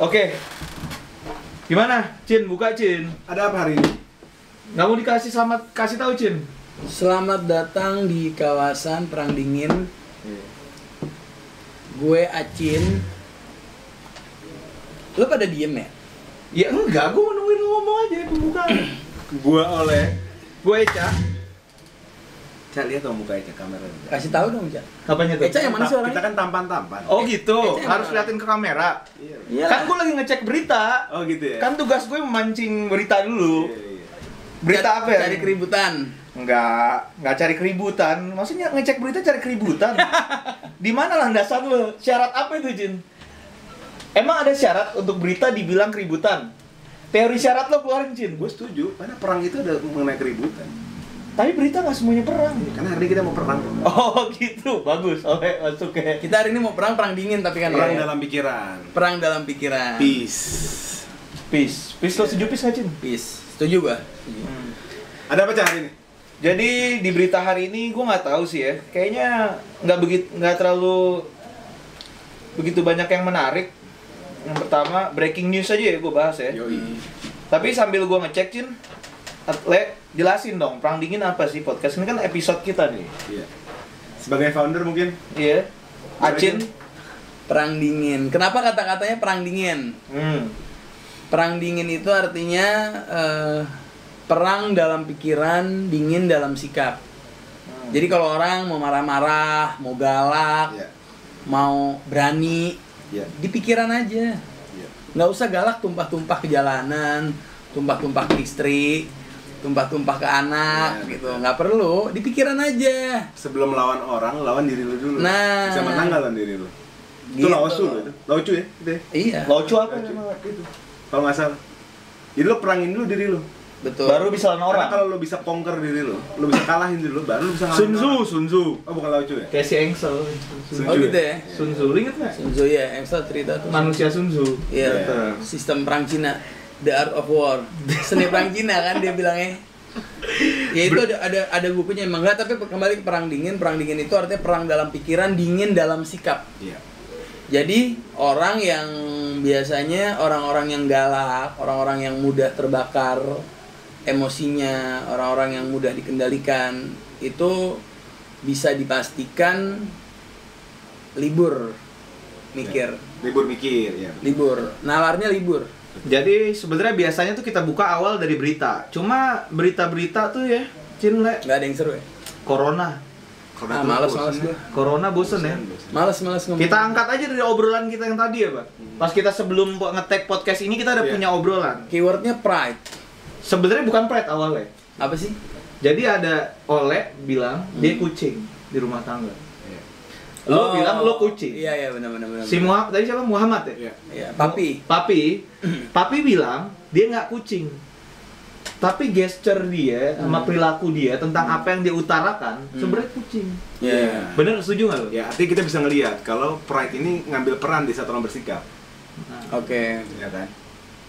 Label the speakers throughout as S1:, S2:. S1: Oke. Gimana? Cin, buka Cin.
S2: Ada apa hari ini?
S1: Nggak mau dikasih selamat, kasih tahu Cin.
S3: Selamat datang di kawasan Perang Dingin. Gue Acin. Lu pada diem ya?
S1: Ya enggak, gue nungguin lu ngomong aja pembukaan.
S2: Gua oleh
S1: gue Eca.
S2: Cak lihat dong muka Eca kamera. Eca.
S3: Kasih tahu dong, Cak.
S1: Apanya tuh?
S3: Eca Eh, yang mana sih
S2: Kita
S3: orangnya?
S2: kan tampan-tampan.
S1: Oh gitu,
S3: Eca yang
S1: harus
S3: mana?
S1: liatin ke kamera.
S2: Iya.
S3: Iya.
S1: Kan gue lagi ngecek berita.
S2: Oh gitu ya.
S1: Kan tugas gue memancing berita dulu.
S2: Iya, iya.
S1: Berita apa ya?
S3: Cari keributan.
S1: Enggak, enggak cari keributan. Maksudnya ngecek berita cari keributan. di mana landasan lo? Syarat apa itu, Jin? Emang ada syarat untuk berita dibilang keributan? Teori syarat lo keluarin, Jin.
S2: Gua setuju, karena perang itu ada mengenai keributan.
S1: Tapi berita nggak semuanya perang. gitu.
S2: Karena hari ini kita mau perang.
S3: Iya.
S1: Oh gitu, bagus. Oke, masuk ke.
S3: Kita hari ini mau perang perang dingin tapi kan
S2: Perang
S3: ya.
S2: dalam pikiran.
S3: perang dalam pikiran.
S2: Peace.
S1: Peace. Peace lo setuju peace nggak, Jin?
S3: Peace. Setuju gua?
S1: Iya. Hmm.
S2: Ada apa Cak hari ini?
S1: Jadi di berita hari ini gue nggak tahu sih ya. Kayaknya nggak begitu nggak terlalu begitu banyak yang menarik. Yang pertama breaking news aja ya gue bahas
S3: Eh.
S1: ya.
S2: Yoi.
S1: Tapi sambil gua ngecek Cin, Le, jelasin dong perang dingin apa sih podcast ini kan episode kita nih.
S2: Iya. Sebagai founder mungkin
S1: Iya. Acin.
S3: Perang dingin. Kenapa kata-katanya perang dingin?
S1: Hmm.
S3: Perang dingin itu artinya eh, perang dalam pikiran, dingin dalam sikap. Jadi kalau orang mau marah-marah, mau galak,
S2: Iya.
S3: mau berani,
S2: Iya.
S3: di pikiran aja.
S2: Iya.
S3: Nggak usah galak tumpah-tumpah ke jalanan, tumpah-tumpah ke istri, tumpah-tumpah ke anak
S2: Iya,
S3: gitu.
S2: betul.
S3: Nggak perlu, di pikiran aja.
S2: Sebelum lawan orang, lawan diri lu dulu.
S3: Nah.
S2: Bisa menang nggak lawan diri lu? Itu
S3: Gitu.
S2: laosu lu itu. Laocu ya? Gitu ya?
S3: Iya,
S1: Locu apa?
S2: Laocu. Gitu. Kalau nggak salah. Jadi lu perangin dulu diri lu.
S3: betul.
S1: Baru bisa lawan
S2: Karena
S1: orang.
S2: kalau lu bisa conquer diri lu, lu bisa kalahin diri lu, baru lu bisa ngalahin
S1: Sun Tzu,
S2: orang.
S1: Sun Tzu.
S2: Oh bukan laocu ya?
S1: Kayak si Engsel. Sun
S3: Oh
S1: Tzu.
S3: gitu ya.
S1: Sun Tzu, lu inget nggak?
S3: Sun Tzu ya, Emsel cerita tuh.
S1: Manusia Sun Tzu.
S3: Iya,
S2: Iya.
S3: sistem perang Cina, the art of war, seni perang Cina kan dia bilangnya. Ya itu ada ada ada bukunya emang enggak, tapi kembali ke perang dingin, perang dingin itu artinya perang dalam pikiran, dingin dalam sikap.
S2: Iya.
S3: Jadi orang yang biasanya orang-orang yang galak, orang-orang yang mudah terbakar emosinya, orang-orang yang mudah dikendalikan itu bisa dipastikan libur mikir,
S2: Libur mikir ya.
S3: libur, nalarnya libur.
S1: Jadi sebenarnya biasanya tuh kita buka awal dari berita. Cuma berita-berita tuh ya, Cin Le,
S3: Nggak ada yang seru ya?
S1: corona.
S2: Karena
S3: Ah,
S2: tuh
S3: males,
S2: bosen
S3: males
S2: ya.
S3: gue.
S1: Corona bosen ya.
S2: Bosen, bosen.
S3: Males, males ngomong.
S1: Kita angkat aja dari obrolan kita yang tadi ya, Pak. Pas kita sebelum po- nge-tag podcast ini kita udah
S2: Iya.
S1: punya obrolan.
S3: Keywordnya pride.
S1: Sebenarnya bukan pride awalnya.
S3: Apa sih?
S1: Jadi ada Oleh bilang dia kucing di rumah tangga.
S2: Iya.
S1: Lo
S3: Hmm. Oh,
S1: bilang lo kucing.
S3: Iya, iya benar benar benar.
S1: Si Muhammad tadi siapa Muhammad ya?
S2: Iya.
S3: Iya, papi.
S1: Papi, Papi bilang dia nggak kucing. Tapi gesture dia sama
S3: Hmm.
S1: perilaku dia tentang apa yang dia utarakan
S3: Hmm.
S1: sebenarnya kucing.
S2: Iya.
S1: Bener setuju nggak lo?
S2: Ya, artinya kita bisa ngelihat kalau pride ini ngambil peran di saat orang bersikap,
S3: Oke.
S2: ya kan?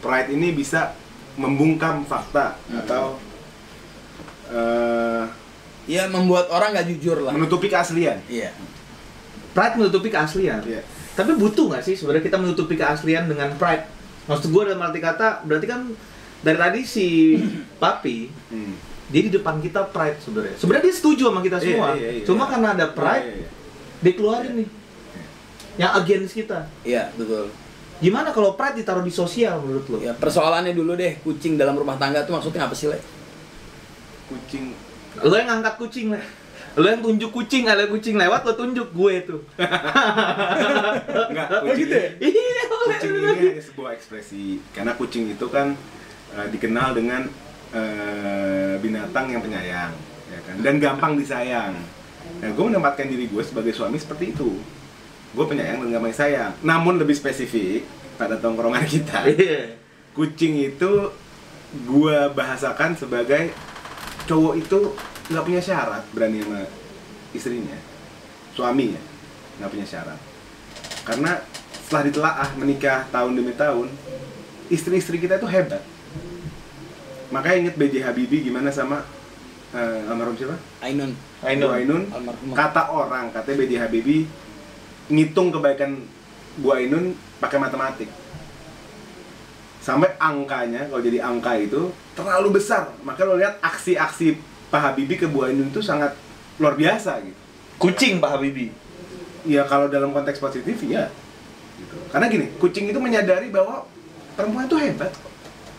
S2: Pride ini bisa membungkam fakta
S3: Hmm.
S2: atau eh,
S3: Ya membuat orang nggak jujur lah.
S2: menutupi keaslian.
S3: Iya.
S1: Pride menutupi keaslian.
S2: Iya.
S1: Tapi butuh nggak sih sebenarnya kita menutupi keaslian dengan pride? Maksud gue dalam arti kata berarti kan dari tadi si Papi
S2: Hmm.
S1: dia di depan kita pride sebenarnya. Sebenarnya dia setuju sama kita
S2: Iya,
S1: semua.
S2: iya, iya.
S1: Cuma karena ada pride
S2: Iya, iya, iya.
S1: dia keluarin nih yang against kita
S3: Iya, betul.
S1: gimana kalau pride ditaruh di sosial menurut lo
S3: Ya, persoalannya dulu deh, kucing dalam rumah tangga tuh maksudnya apa sih, Le?
S2: Kucing
S1: lo yang ngangkat kucing lah lo yang tunjuk kucing ada kucing lewat lo tunjuk gue tuh
S2: enggak kucing.
S1: gitu ya? iya oleh
S2: kucing
S1: bener
S2: ini
S1: lagi.
S2: ada sebuah ekspresi karena kucing itu kan eh, dikenal dengan eh, binatang yang penyayang ya kan dan gampang disayang nah gue menempatkan diri gue sebagai suami seperti itu gue penyayang dan gampang disayang namun lebih spesifik pada tongkrongan kita
S1: Iya.
S2: kucing itu gue bahasakan sebagai cowok itu nggak punya syarat berani sama istrinya suaminya nggak punya syarat karena setelah ditelaah menikah tahun demi tahun istri-istri kita itu hebat makanya inget B.J. Habibie gimana sama eh, almarhum siapa?
S3: Ainun.
S1: Ainun.
S2: Bu Ainun
S3: Almarhumah.
S2: kata orang katanya B.J. Habibie ngitung kebaikan Bu Ainun pakai matematik sampai angkanya kalau jadi angka itu terlalu besar maka lo lihat aksi-aksi Pak Habibie ke Bu Ainun itu sangat luar biasa gitu
S1: Kucing Pak Habibie.
S2: ya kalau dalam konteks positif ya gitu. karena gini kucing itu menyadari bahwa perempuan itu hebat kok.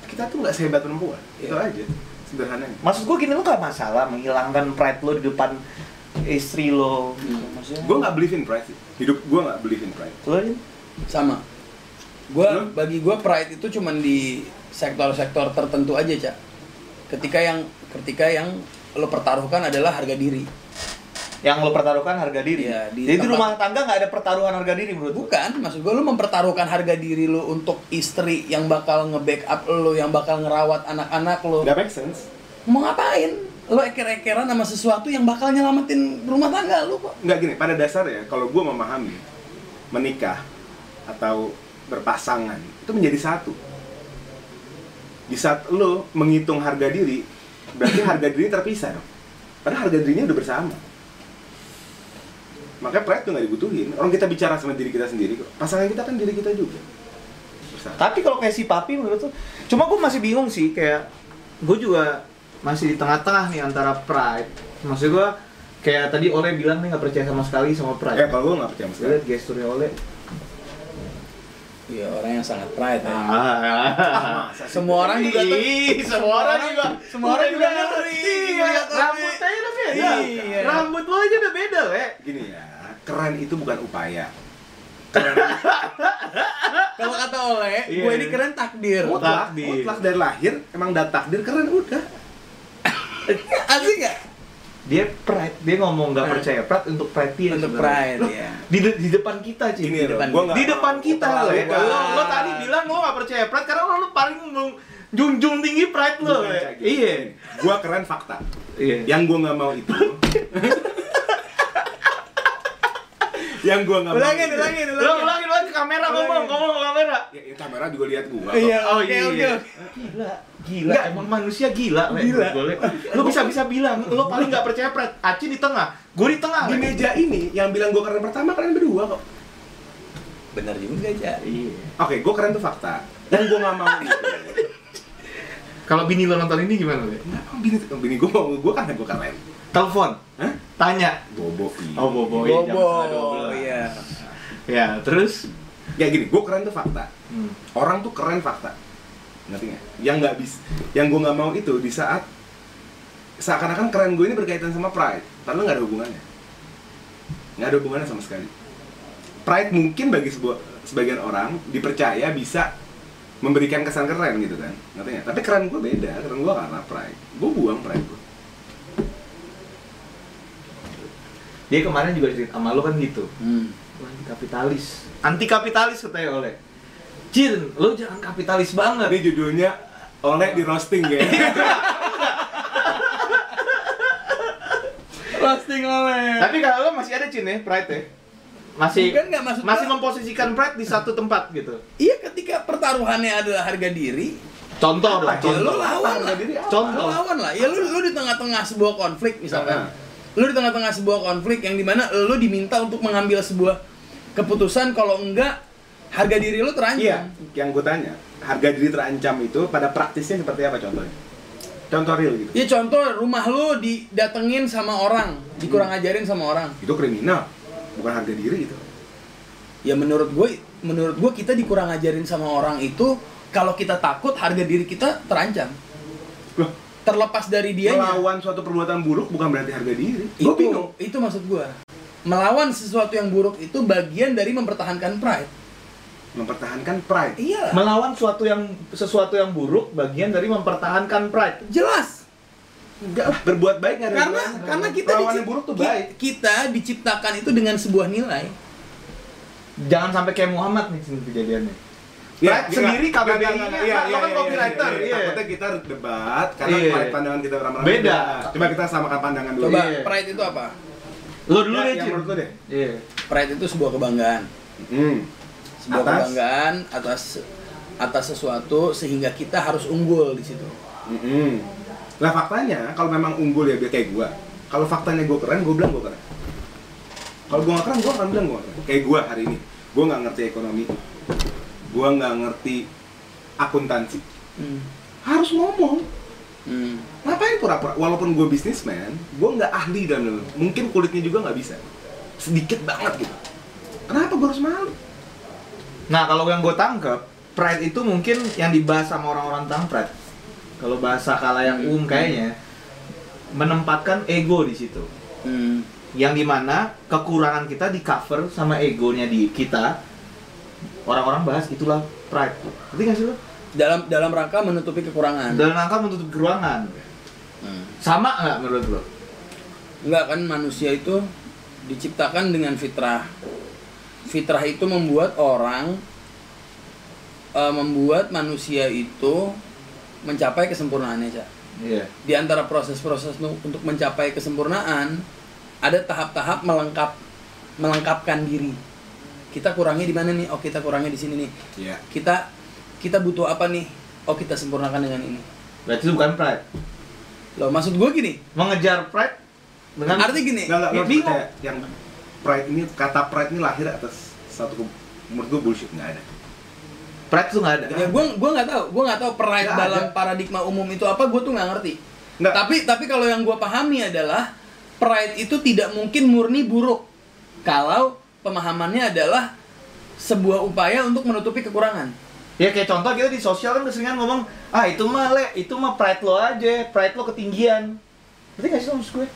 S2: kita tuh nggak sehebat perempuan itu
S3: Iya.
S2: aja sederhananya
S1: Maksud gue gini lo gak masalah menghilangkan pride lo di depan istri lo. gitu.
S3: Hmm, maksudnya-
S2: gue nggak believe in pride sih hidup gue nggak believe in pride
S1: Lo Jin?
S3: sama gua
S2: Lu?
S3: bagi gua pride itu cuman di sektor-sektor tertentu aja cak ketika yang ketika yang lo pertaruhkan adalah harga diri
S1: yang lo pertaruhkan harga diri.
S3: Iya, di
S1: Jadi di
S3: tempat-
S1: rumah tangga nggak ada pertaruhan harga diri menurut lo?
S3: bukan maksud gua lo mempertaruhkan harga diri lo untuk istri yang bakal nge-backup lo yang bakal ngerawat anak-anak lo
S2: nggak make sense
S3: mau ngapain lo eker-ekeran sama sesuatu yang bakal nyelamatin rumah tangga lo kok
S2: nggak gini pada dasarnya kalau gue memahami menikah atau berpasangan itu menjadi satu di saat lo menghitung harga diri berarti harga diri terpisah dong padahal harga dirinya udah bersama makanya pride tuh nggak dibutuhin orang kita bicara sama diri kita sendiri kok pasangan kita kan diri kita juga bersama
S1: Tapi kalau kayak si papi menurut tuh, cuma gue masih bingung sih kayak gue juga masih di tengah-tengah nih antara pride. Maksud gue kayak tadi Ole bilang nih nggak percaya sama sekali sama
S2: ya
S1: pride.
S2: kalau gue nggak percaya sama
S1: Gue
S2: sekali
S1: liat gesturnya Ole.
S3: iya orang yang sangat pride ya.
S1: Ah.
S3: semua orang juga tuh
S1: Ih, semua orang juga, semua orang juga ngerti.
S3: Iya,
S1: Rambut aja udah beda.
S3: Iya.
S1: Rambut lo aja udah beda, le.
S2: gini ya keren itu bukan upaya
S3: kalau kata oleh
S1: Iya.
S3: gue ini keren takdir
S2: mutlak
S1: Takdir.
S2: mutlak dari lahir emang dari takdir keren udah
S3: Iya, asik gak?
S1: Dia pride, dia ngomong nggak
S3: Nah.
S1: percaya pride untuk pride dia.
S3: untuk
S1: Iya, sebenarnya.
S3: pride
S1: Loh,
S3: ya
S1: Di, de- di depan kita, Cik.
S2: Gini loh,
S3: depan
S2: gua
S3: kita.
S2: nggak
S1: di depan
S2: mau
S1: kita ya. lo,
S2: terlalu
S1: lo, lo
S3: Wah.
S1: tadi bilang lo gak percaya pride karena lo, lo paling meng- junjung tinggi pride lo
S2: Bukan,
S1: Le.
S2: Cak, gitu.
S1: iya
S2: gua keren fakta
S1: iya
S2: yang gua nggak mau itu yang gua nggak mau
S3: ulangin
S2: itu-
S3: ulangin
S1: lo
S3: ulangin
S1: ulangin lo ke kamera
S3: Ulangin.
S1: ngomong ngomong ke kamera
S2: ya, ya, kamera juga lihat gua kok.
S3: iya
S1: Oh,
S3: oke
S1: iya.
S3: oke oke.
S1: gila gila
S2: Nggak.
S1: emang manusia gila Le.
S3: Gila.
S1: Menurut gue, Le. lo bisa bisa bilang lo paling gak percaya pride aci di tengah gue di tengah
S2: di
S1: Le.
S2: meja ini yang bilang gua keren pertama kalian berdua kok
S3: bener juga cak
S1: iya
S2: oke gua keren tuh fakta yang gua nggak mau gitu. itu
S1: kalau bini lo nonton ini gimana Le?
S2: kenapa bini bini gua mau gua karena gua keren
S1: telepon
S2: Hah?
S1: tanya
S2: bobo iya.
S1: oh bobo iya, jangan salah
S3: bobo
S1: double.
S3: iya
S1: ya terus
S2: ya gini gua keren tuh fakta
S1: Hmm.
S2: orang tuh keren fakta ngerti nggak yang nggak bisa yang gue nggak mau itu di saat seakan-akan keren gue ini berkaitan sama pride padahal nggak ada hubungannya nggak ada hubungannya sama sekali pride mungkin bagi sebuah sebagian orang dipercaya bisa memberikan kesan keren gitu kan ngerti nggak tapi keren gue beda keren gue karena pride gue buang pride gue
S1: dia kemarin juga cerita sama lo kan gitu
S3: Hmm.
S1: Lu anti kapitalis anti kapitalis katanya oleh Jin, lo jangan kapitalis
S2: ini
S1: banget.
S2: judulnya oleh di roasting ya
S3: roasting oleh
S1: Tapi kalau lo masih ada Jin ya, pride ya. Masih
S3: Bukan nggak maksud
S1: masih
S3: gua-
S1: memposisikan pride di satu tempat gitu.
S3: iya ketika pertaruhannya adalah harga diri
S1: Contoh lah,
S3: ya lo
S1: contoh.
S3: lawan lah
S2: Diri apa?
S1: Contoh.
S3: lo lawan lah ya lo lo di tengah-tengah sebuah konflik misalkan lo di tengah-tengah sebuah konflik yang dimana lo diminta untuk mengambil sebuah keputusan kalau enggak harga diri lo
S2: Iya,
S3: terancam
S2: yang gue tanya, harga diri terancam itu pada praktisnya seperti apa contohnya? Contoh real gitu.
S3: ya contoh rumah lo didatengin sama orang dikurang ajarin sama orang
S2: Itu kriminal, bukan harga diri itu.
S3: ya menurut gue menurut gue kita dikurang ajarin sama orang itu kalau kita takut harga diri kita terancam
S2: Loh,
S3: terlepas dari
S2: Iya,
S3: dia
S2: melawan suatu perbuatan buruk bukan berarti harga diri.
S3: itu
S2: Gue bingung.
S3: itu maksud gue melawan sesuatu yang buruk itu bagian dari mempertahankan pride
S2: Mempertahankan pride.
S3: iya
S1: Melawan suatu yang sesuatu yang buruk bagian dari mempertahankan pride.
S3: jelas
S2: Enggak lah, berbuat baik nggak ada
S3: karena
S2: hubungannya.
S3: karena kita
S2: Melawan
S3: dicip-
S2: yang buruk tuh
S3: ki-
S2: baik.
S3: kita diciptakan itu dengan sebuah nilai
S1: Jangan sampai kayak Muhammad nih Jin, kejadiannya. Pride
S2: iya,
S1: sendiri
S2: nggak,
S1: KBBI
S2: nggak, nggak,
S1: kan, lo
S2: iya, iya,
S1: kan
S2: iya,
S1: copywriter,
S2: iya, iya.
S1: iya.
S2: Takutnya kita debat karena
S1: Iya.
S2: pride pandangan kita ramah-ramah
S1: Beda.
S2: Coba kita samakan pandangan dulu.
S3: coba
S1: Iya.
S3: pride itu apa
S1: Lo dulu
S2: Ya,
S1: deh,
S2: yang
S1: Jin.
S2: menurut lo deh.
S1: Iya.
S3: pride itu sebuah kebanggaan
S2: Hmm.
S3: sebuah
S2: Atas?
S3: kebanggaan atas atas sesuatu sehingga kita harus unggul di situ
S2: Mm-mm. Mm-hmm. Lah faktanya kalau memang unggul ya biar kayak gua. Kalau faktanya gua keren, gua bilang gua keren. Kalau gua nggak keren, gua akan bilang gua keren. Kayak gua hari ini, gua nggak ngerti ekonomi, gua nggak ngerti akuntansi
S3: Hmm.
S2: harus ngomong
S3: Hmm.
S2: ngapain pura-pura walaupun gue bisnismen gue nggak ahli dalam dalam- mungkin kulitnya juga nggak bisa sedikit banget gitu kenapa gue harus malu
S1: Nah, kalau yang gue tangkep, pride itu mungkin yang dibahas sama orang-orang tentang pride. Kalau bahasa kalayak
S3: Hmm.
S1: umum kayaknya menempatkan ego di situ.
S3: Hmm.
S1: Yang dimana kekurangan kita di cover sama egonya di kita. Orang-orang bahas itulah pride. Ngerti nggak sih lo?
S3: Dalam dalam rangka menutupi kekurangan.
S1: Dalam rangka menutup kekurangan.
S3: Hmm.
S1: Sama nggak menurut lo?
S3: Enggak kan manusia itu diciptakan dengan fitrah. Fitrah itu membuat orang eh, membuat manusia itu mencapai kesempurnaannya, Cak.
S1: Iya.
S3: Di antara proses-proses nu- untuk mencapai kesempurnaan ada tahap-tahap melengkap melengkapkan diri. Kita kurangnya di mana nih? Oh, kita kurangnya di sini nih.
S2: ya
S3: Kita kita butuh apa nih? Oh, kita sempurnakan dengan ini.
S1: Berarti itu bukan pride.
S3: Loh, maksud gue gini.
S1: Mengejar pride dengan
S3: Artinya gini.
S2: Eh, nggak nggak nggak
S1: Bingung.
S2: percaya. yang pride ini kata pride ini lahir atas satu ke- menurut gue bullshit nggak ada
S1: pride itu nggak ada.
S3: Ya gue gua nggak tahu, gue nggak tahu pride
S2: Nggak
S3: dalam
S2: ada.
S3: paradigma umum itu apa, gue tuh nggak ngerti.
S2: Nggak.
S3: Tapi tapi kalau yang gue pahami adalah pride itu tidak mungkin murni buruk kalau pemahamannya adalah sebuah upaya untuk menutupi kekurangan.
S1: Ya kayak contoh kita di sosial kan keseringan ngomong, ah itu mah le, itu mah pride lo aja, pride lo ketinggian. Berarti nggak sih lo maksud gue?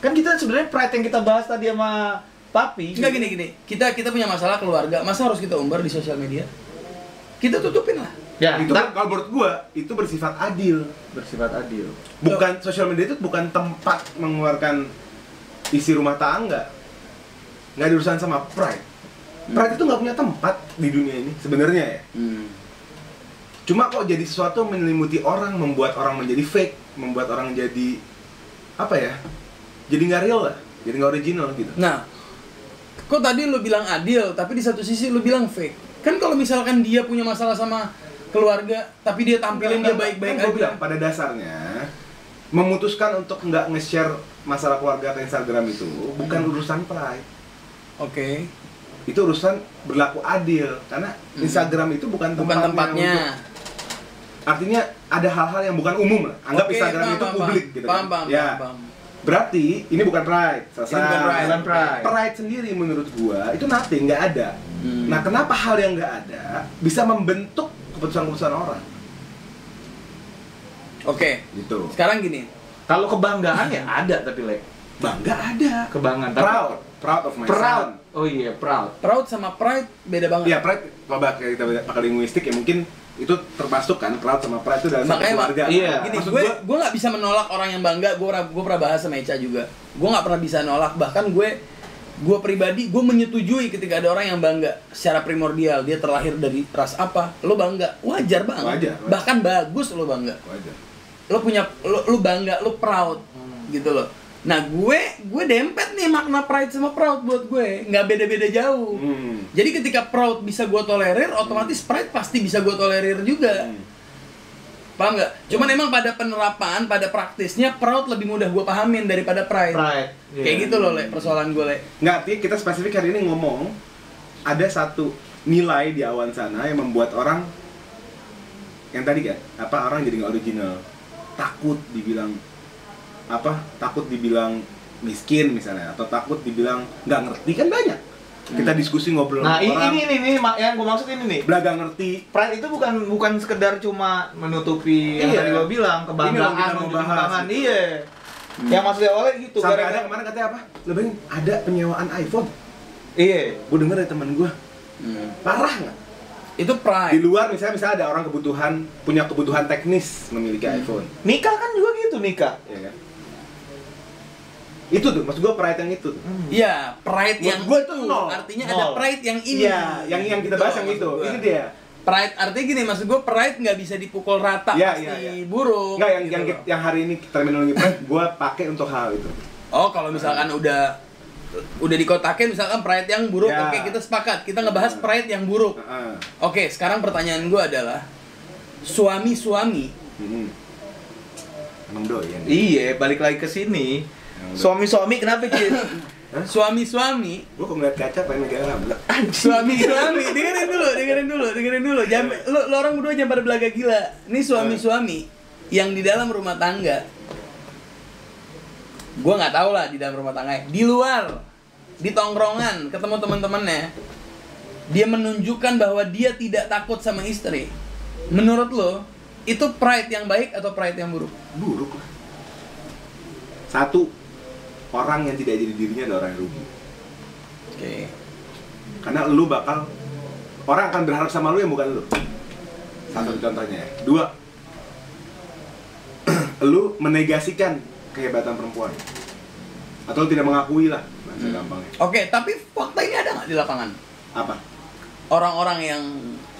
S1: Kan kita sebenarnya pride yang kita bahas tadi sama papi.
S3: Enggak gini gini, kita kita punya masalah keluarga, masa harus kita umbar di sosial media? Kita tutupin lah.
S1: Ya, itu
S2: itu kan kalau menurut gue itu bersifat adil
S1: bersifat adil.
S2: bukan sosial media itu bukan tempat mengeluarkan isi rumah tangga nggak ada urusan sama pride pride itu nggak punya tempat di dunia ini sebenarnya ya cuma kok jadi sesuatu yang menyelimuti orang membuat orang menjadi fake membuat orang jadi apa ya jadi nggak real lah jadi nggak original gitu
S3: Nah, kok tadi lu bilang adil, tapi di satu sisi lu bilang fake. Kan kalau misalkan dia punya masalah sama keluarga, tapi dia tampilin dia baik-baik
S2: Kan gua
S3: aja.
S2: bilang pada dasarnya memutuskan untuk nggak nge-share masalah keluarga ke Instagram itu bukan
S3: Hmm.
S2: urusan pride
S3: Oke,
S2: itu urusan berlaku adil karena Instagram itu bukan
S3: Hmm.
S2: tempatnya,
S3: bukan tempatnya.
S2: untuk- artinya ada hal-hal yang bukan umum lah anggap
S3: Oke,
S2: Instagram
S3: paham,
S2: itu
S3: paham,
S2: publik
S3: paham.
S2: gitu
S3: Paham,
S2: kan
S3: paham,
S2: ya
S3: paham, paham.
S2: berarti ini bukan pride selesai
S3: Ini bukan pride.
S1: Bukan pride.
S2: Pride sendiri menurut gua itu nothing nggak ada
S3: Hmm.
S2: nah kenapa hal yang nggak ada bisa membentuk keputusan-keputusan orang
S3: Oke,
S2: gitu
S3: sekarang gini.
S1: Kalau kebanggaan ya ada tapi le,
S2: bangga ada
S1: kebanggaan. Tapi-
S2: proud proud of my
S1: Proud.
S2: son.
S1: Oh iya proud.
S3: Proud sama pride beda banget.
S2: Iya, pride kalau pakai kita pakai linguistik ya mungkin itu termasuk kan proud sama pride itu dalam satu
S3: Makanya mak-
S2: keluarga.
S1: iya.
S3: Gini,
S2: Maksud
S3: gue
S2: gua-
S3: gue nggak bisa menolak orang yang bangga. Gue gue pernah bahas sama Eca juga. Gue nggak pernah bisa nolak. Bahkan gue gue pribadi gue menyetujui ketika ada orang yang bangga secara primordial dia terlahir dari ras apa lo bangga wajar banget
S2: Wajar, wajar.
S3: bahkan bagus lo bangga
S2: Wajar.
S3: lo punya lo, lo bangga lo proud
S2: Hmm.
S3: gitu loh nah gue gue dempet nih makna pride sama proud buat gue nggak beda beda jauh
S2: Hmm.
S3: jadi ketika proud bisa gue tolerir otomatis pride pasti bisa gue tolerir juga
S2: Hmm.
S3: paham nggak cuman emang pada penerapan pada praktisnya proud lebih mudah gue pahamin daripada pride,
S1: Pride.
S2: iya.
S3: kayak gitu loh le persoalan gue le
S2: Nggak, artinya kita spesifik hari ini ngomong ada satu nilai di awan sana yang membuat orang yang tadi kan apa orang jadi nggak original takut dibilang apa takut dibilang miskin misalnya atau takut dibilang nggak ngerti kan banyak kita diskusi ngobrol
S1: Nah ini
S2: sama orang
S1: ini nih, ini mak- yang gue maksud ini nih.
S2: belaga ngerti
S1: Pride itu bukan bukan sekedar cuma menutupi yang
S2: Iya.
S1: tadi lo bilang
S2: Ini
S1: kebanggaan,
S2: yang kita mau
S1: menutupi
S2: bahas. Hmm.
S1: kebanggaan, iya. Yang maksudnya oleh gitu.
S2: sampai
S1: gara-gara-
S2: ada kemarin katanya apa lebih ada penyewaan iPhone
S1: Iya.
S2: gue denger dari teman gue parah nggak
S3: itu
S2: di
S3: pride
S2: luar misalnya misalnya ada orang kebutuhan punya kebutuhan teknis memiliki iPhone
S1: Nikah kan juga gitu nikah.
S2: ya kan itu tuh maksud gue pride yang itu tuh.
S3: Iya, pride
S2: Buat
S3: yang
S2: gue tuh
S3: itu.
S2: nol.
S3: artinya
S1: Nol.
S3: ada pride yang ini
S2: iya yang yang kita
S3: Gitu
S2: bahas yang
S3: maksud
S2: itu ya?
S3: gua.
S2: ini dia
S3: pride artinya gini maksud gue pride nggak bisa dipukul rata
S2: Iya,
S3: pasti
S2: iya, iya.
S3: buruk
S2: nggak yang
S3: gitu
S2: yang ya.
S3: loh.
S2: yang hari ini terminologi pride gue pakai untuk hal itu
S3: Oh, kalau misalkan udah udah dikotakin misalkan pride yang buruk,
S2: Ya.
S3: oke kita sepakat kita ngebahas pride yang buruk.
S2: Heeh.
S3: Oke, sekarang pertanyaan gue adalah suami-suami
S2: Mm-mm. Hmm. emang doyan
S1: Iya, balik lagi ke sini.
S2: udah.
S1: Suami-suami kenapa, Cid?
S2: Hah?
S3: Suami-suami
S2: Gue kok ngeliat kaca pengen megang rambut.
S3: suami-suami dengerin dulu dengerin dulu dengerin dulu jam lo, lo orang berdua jangan pada belaga gila ini suami-suami yang di dalam rumah tangga gua nggak tahu lah di dalam rumah tangga di luar di tongkrongan ketemu teman-temannya dia menunjukkan bahwa dia tidak takut sama istri menurut lo itu pride yang baik atau pride yang buruk
S2: Buruk lah. Satu, orang yang tidak jadi dirinya adalah orang yang rugi.
S3: oke
S2: Karena lu bakal, orang akan berharap sama lu yang bukan lu. Satu contohnya ya. Dua, lu menegasikan kehebatan perempuan. Atau lu tidak mengakui lah,
S1: Hmm.
S2: bahasa gampangnya.
S3: oke tapi fakta ini ada nggak di lapangan
S2: Apa?
S3: orang-orang yang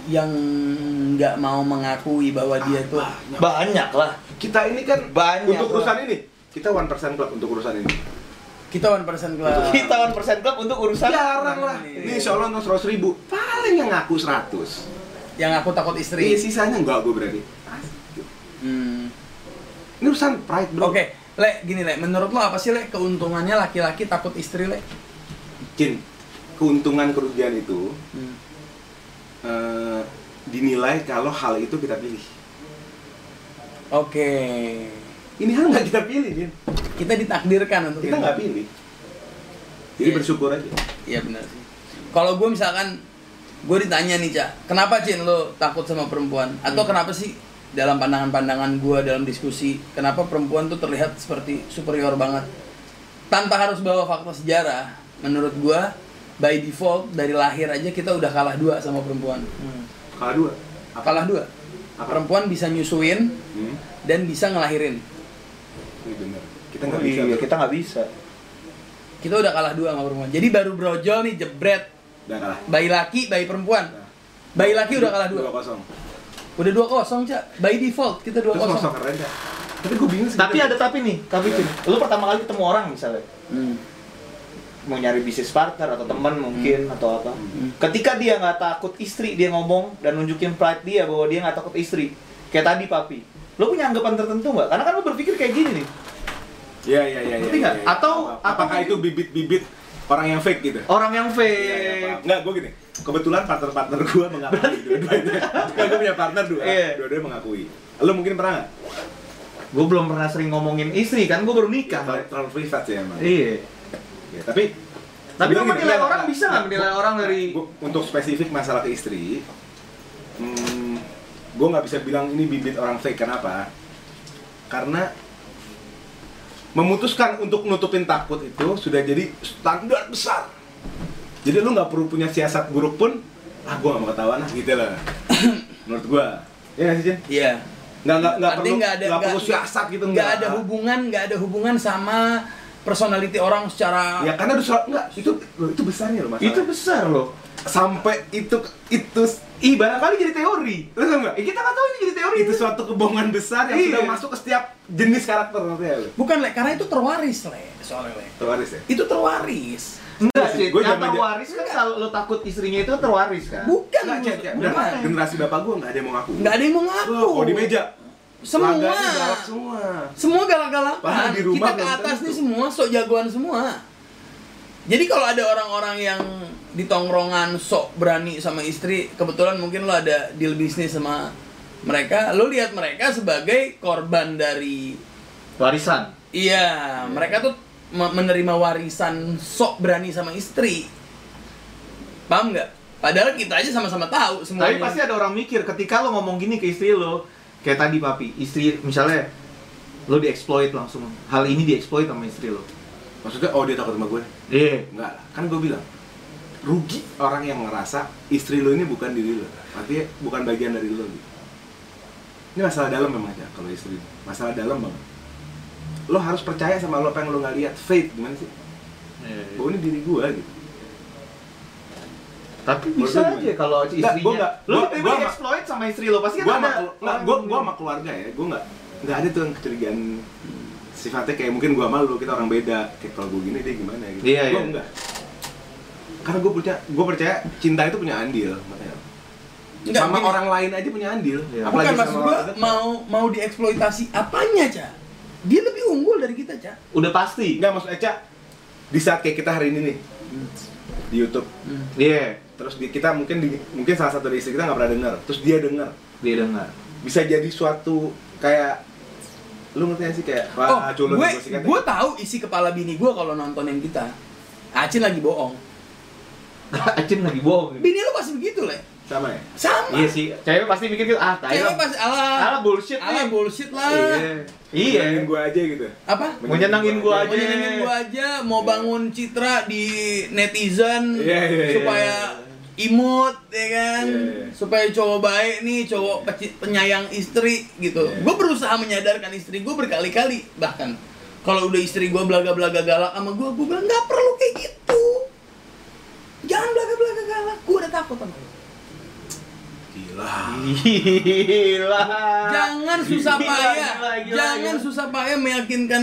S3: yang nggak mau mengakui bahwa dia tuh
S2: Banyak.
S1: Banyak lah.
S2: Kita ini kan
S1: Banyak
S2: untuk
S1: lah.
S2: urusan ini. Kita one percent club untuk urusan ini.
S3: kita one percent
S2: Ah.
S3: club
S1: Kita one percent club untuk urusan
S2: Jarang lah.
S3: Iya.
S2: Ini insya Allah nonton 100 ribu. Paling yang ngaku 100.
S3: yang aku takut
S2: Iya
S3: istri
S2: sisanya enggak gue berani.
S3: Hmm.
S2: Ini urusan pride bro.
S3: oke le gini le menurut lo apa sih le keuntungannya laki-laki takut istri le
S2: Jin, keuntungan kerugian itu eh, dinilai kalau hal itu kita pilih.
S3: oke
S2: Ini hal nggak kita pilih, Jin.
S3: kita ditakdirkan untuk
S2: Kita
S3: itu.
S2: nggak pilih. Jadi
S3: Iya.
S2: bersyukur aja.
S3: iya benar sih kalau gue misalkan gue ditanya nih cak kenapa cin lo takut sama perempuan atau
S2: Hmm.
S3: kenapa sih dalam pandangan-pandangan gue dalam diskusi kenapa perempuan tuh terlihat seperti superior banget tanpa harus bawa fakta sejarah menurut gue by default dari lahir aja kita udah kalah dua sama perempuan
S1: Hmm.
S2: Kalau dua, apa?
S3: kalah dua
S2: Apa?
S3: perempuan bisa nyusuin
S2: Hmm,
S3: dan bisa ngelahirin
S2: ini bener. Kita
S1: Kita nggak
S3: Oh,
S2: nggak
S3: iya,
S2: bisa.
S1: bisa. Oh,
S2: bro.
S1: iya, Kita nggak bisa.
S3: kita udah kalah dua sama perempuan jadi baru brojol nih jebret
S2: Udah kalah.
S3: bayi laki bayi perempuan bayi laki udah kalah dua
S2: Dua kosong.
S3: udah dua kosong cak by default kita dua
S2: Terus
S3: kosong
S2: sosok keren dah. Tapi gue bingung. sih.
S1: Tapi ada tapi nih, tapi Cin. Lu pertama kali ketemu orang misalnya
S3: Hmm.
S1: mau nyari bisnis partner atau teman mungkin atau apa.
S2: Hmm.
S1: Ketika dia nggak takut istri, dia ngomong dan nunjukin pride dia bahwa dia nggak takut istri. Kayak tadi papi. Lu punya anggapan tertentu nggak? Karena kan lu berpikir kayak gini nih.
S2: Iya iya iya.
S1: Ngerti nggak?
S2: iya, iya.
S1: Atau-
S2: apakah
S1: atau-
S2: itu bibit-bibit orang yang fake gitu?
S1: Orang yang fake.
S2: Iya, iya, paham. Nggak, gue gini. Kebetulan partner-partner gue mengakui dua-duanya. Nggak, gue punya partner dua.
S1: Iya.
S2: Dua-duanya mengakui. Lo mungkin pernah nggak?
S1: gue belum pernah sering ngomongin istri kan gue baru nikah.
S2: Terlalu, terlalu privat sih emang.
S1: Iya.
S2: Ya, tapi
S1: Tapi lu
S2: sebenarnya gini,
S1: menilai
S2: nggak,
S1: orang
S2: nggak,
S1: bisa nggak menilai orang dari
S2: gitu. Gua- untuk spesifik masalah ke istri, hmm, gue nggak bisa bilang ini bibit orang fake. Kenapa? Karena memutuskan untuk nutupin takut itu sudah jadi standar besar. Jadi lu nggak perlu punya siasat buruk pun, ah gue nggak mau ketahuan ah gitu lah. Menurut gue, ya nggak sih Jen?
S3: iya
S2: Nggak nggak nggak
S3: Artinya
S2: perlu
S3: nggak
S2: nggak
S3: ada-
S2: perlu
S3: nggak-
S2: siasat gitu
S3: nggak ada hubungan nggak ada hubungan sama personality orang secara
S2: Ya karena udah nggak itu loh, itu besarnya loh masalah.
S1: itu besar loh.
S2: sampai itu itu
S1: Ih barangkali jadi teori.
S2: lu tau nggak?
S1: Eh, kita nggak tahu ini jadi teori.
S2: itu suatu kebohongan besar yang
S1: Iya.
S2: sudah masuk ke setiap jenis karakter nanti ya lu
S3: bukan le karena itu terwaris le soalnya le
S2: terwaris ya
S3: itu terwaris
S1: Enggak
S2: Iya sih,
S1: sih,
S2: gua
S1: yang
S2: zaman-
S1: terwaris kan kalau lo takut istrinya itu terwaris kan?
S3: bukan
S2: Nggak, Cet, ya. Udah,
S3: bukan.
S2: generasi bapak gua nggak ada yang mau ngaku
S3: nggak ada yang mau
S2: Wah,
S3: ngaku
S2: kalau di meja
S3: Semua.
S2: laganya galak semua
S3: semua
S2: Padahal
S3: galak-galakan
S2: di rumah
S3: kita ke
S2: belum
S3: atas
S2: tentu.
S3: nih semua sok jagoan semua jadi kalau ada orang-orang yang di tongkrongan sok berani sama istri kebetulan mungkin lo ada deal bisnis sama mereka lo lihat mereka sebagai korban dari
S1: Warisan.
S3: iya mereka tuh me- menerima warisan sok berani sama istri paham nggak padahal kita aja sama-sama tahu
S1: Tapi
S3: semuanya
S1: pasti ada orang mikir ketika lo ngomong gini ke istri lo, kayak tadi papi, istri misalnya lo dieksploit langsung, hal ini dieksploit sama istri lo.
S2: maksudnya oh dia takut sama gue
S1: Iya.
S2: enggak lah kan gua bilang rugi orang yang ngerasa istri lu ini bukan diri lu artinya bukan bagian dari lu gitu. ini masalah dalam memang ya kalau istri masalah dalam banget lo harus percaya sama lo apa yang lo nggak lihat faith gimana sih
S1: Iya.
S2: bahwa ini diri gua gitu
S1: Tapi
S2: Menurut
S1: bisa
S2: lo
S1: aja
S2: gimana?
S1: kalau
S2: Nggak, gua nggak-
S1: istrinya lo
S2: gua-
S1: tiba-tiba
S2: gua nggak-
S1: dieksploit sama istri lo pasti
S2: gua
S1: kan
S2: sama
S1: ada.
S2: kelu- nggak, gua gua sama keluarga ya gua nggak nggak ada tuh yang kecurigaan sifatnya kayak mungkin gua malu kita orang beda kayak kalau gua gini dia gimana gitu
S1: Iya,
S2: gua
S1: iya.
S2: enggak karena gua percaya gua percaya cinta itu punya andil makanya
S3: Nggak,
S2: sama
S3: gini.
S2: orang lain aja punya andil
S1: Iya.
S2: apalagi
S3: Bukan maksud
S2: sama
S3: gua
S2: orang dekat.
S3: mau mau dieksploitasi apanya, Cak? Dia lebih unggul dari kita, Cak.
S1: Udah pasti.
S2: nggak maksud Eca di saat kayak kita hari ini nih di YouTube
S3: Hmm.
S1: Iya,
S2: terus di, kita mungkin di- mungkin salah satu dari istri kita nggak pernah dengar terus dia dengar
S1: dia dengar.
S2: bisa jadi suatu kayak lu ngerti gak sih kayak
S3: Oh,
S2: wah culun
S3: gue
S2: sikat
S3: gue
S1: gitu.
S3: tahu isi kepala bini gue kalau nontonin kita. Acin lagi bohong.
S1: Acin lagi bohong.
S3: Bini lu pasti begitu, Le.
S2: sama ya
S3: Sama.
S1: Iya sih, cewek pasti mikir gitu, ah tai lah.
S3: Cewek pasti ala
S1: Ala bullshit
S3: ala
S1: nih.
S3: bullshit lah.
S1: Iya.
S2: Bilangin gua aja gitu
S3: Apa?
S1: Mau nyenengin gua
S3: Mau
S1: aja.
S3: nyenengin gua aja, mau bangun citra di netizen
S2: Iya, iya, iya.
S3: supaya imut ya kan
S2: Iya, iya.
S3: supaya cowok baik nih cowok peci- penyayang istri gitu
S2: Iya.
S3: gue berusaha menyadarkan istri gue berkali-kali bahkan kalau udah istri gue belaga-belaga galak sama gue gue bilang nggak perlu kayak gitu jangan belaga-belaga galak gue udah takut sama lu
S2: gila
S1: Gila.
S3: jangan susah
S1: Iya, Gila,
S3: payah
S1: gila, gila,
S3: jangan
S1: gila.
S3: susah payah meyakinkan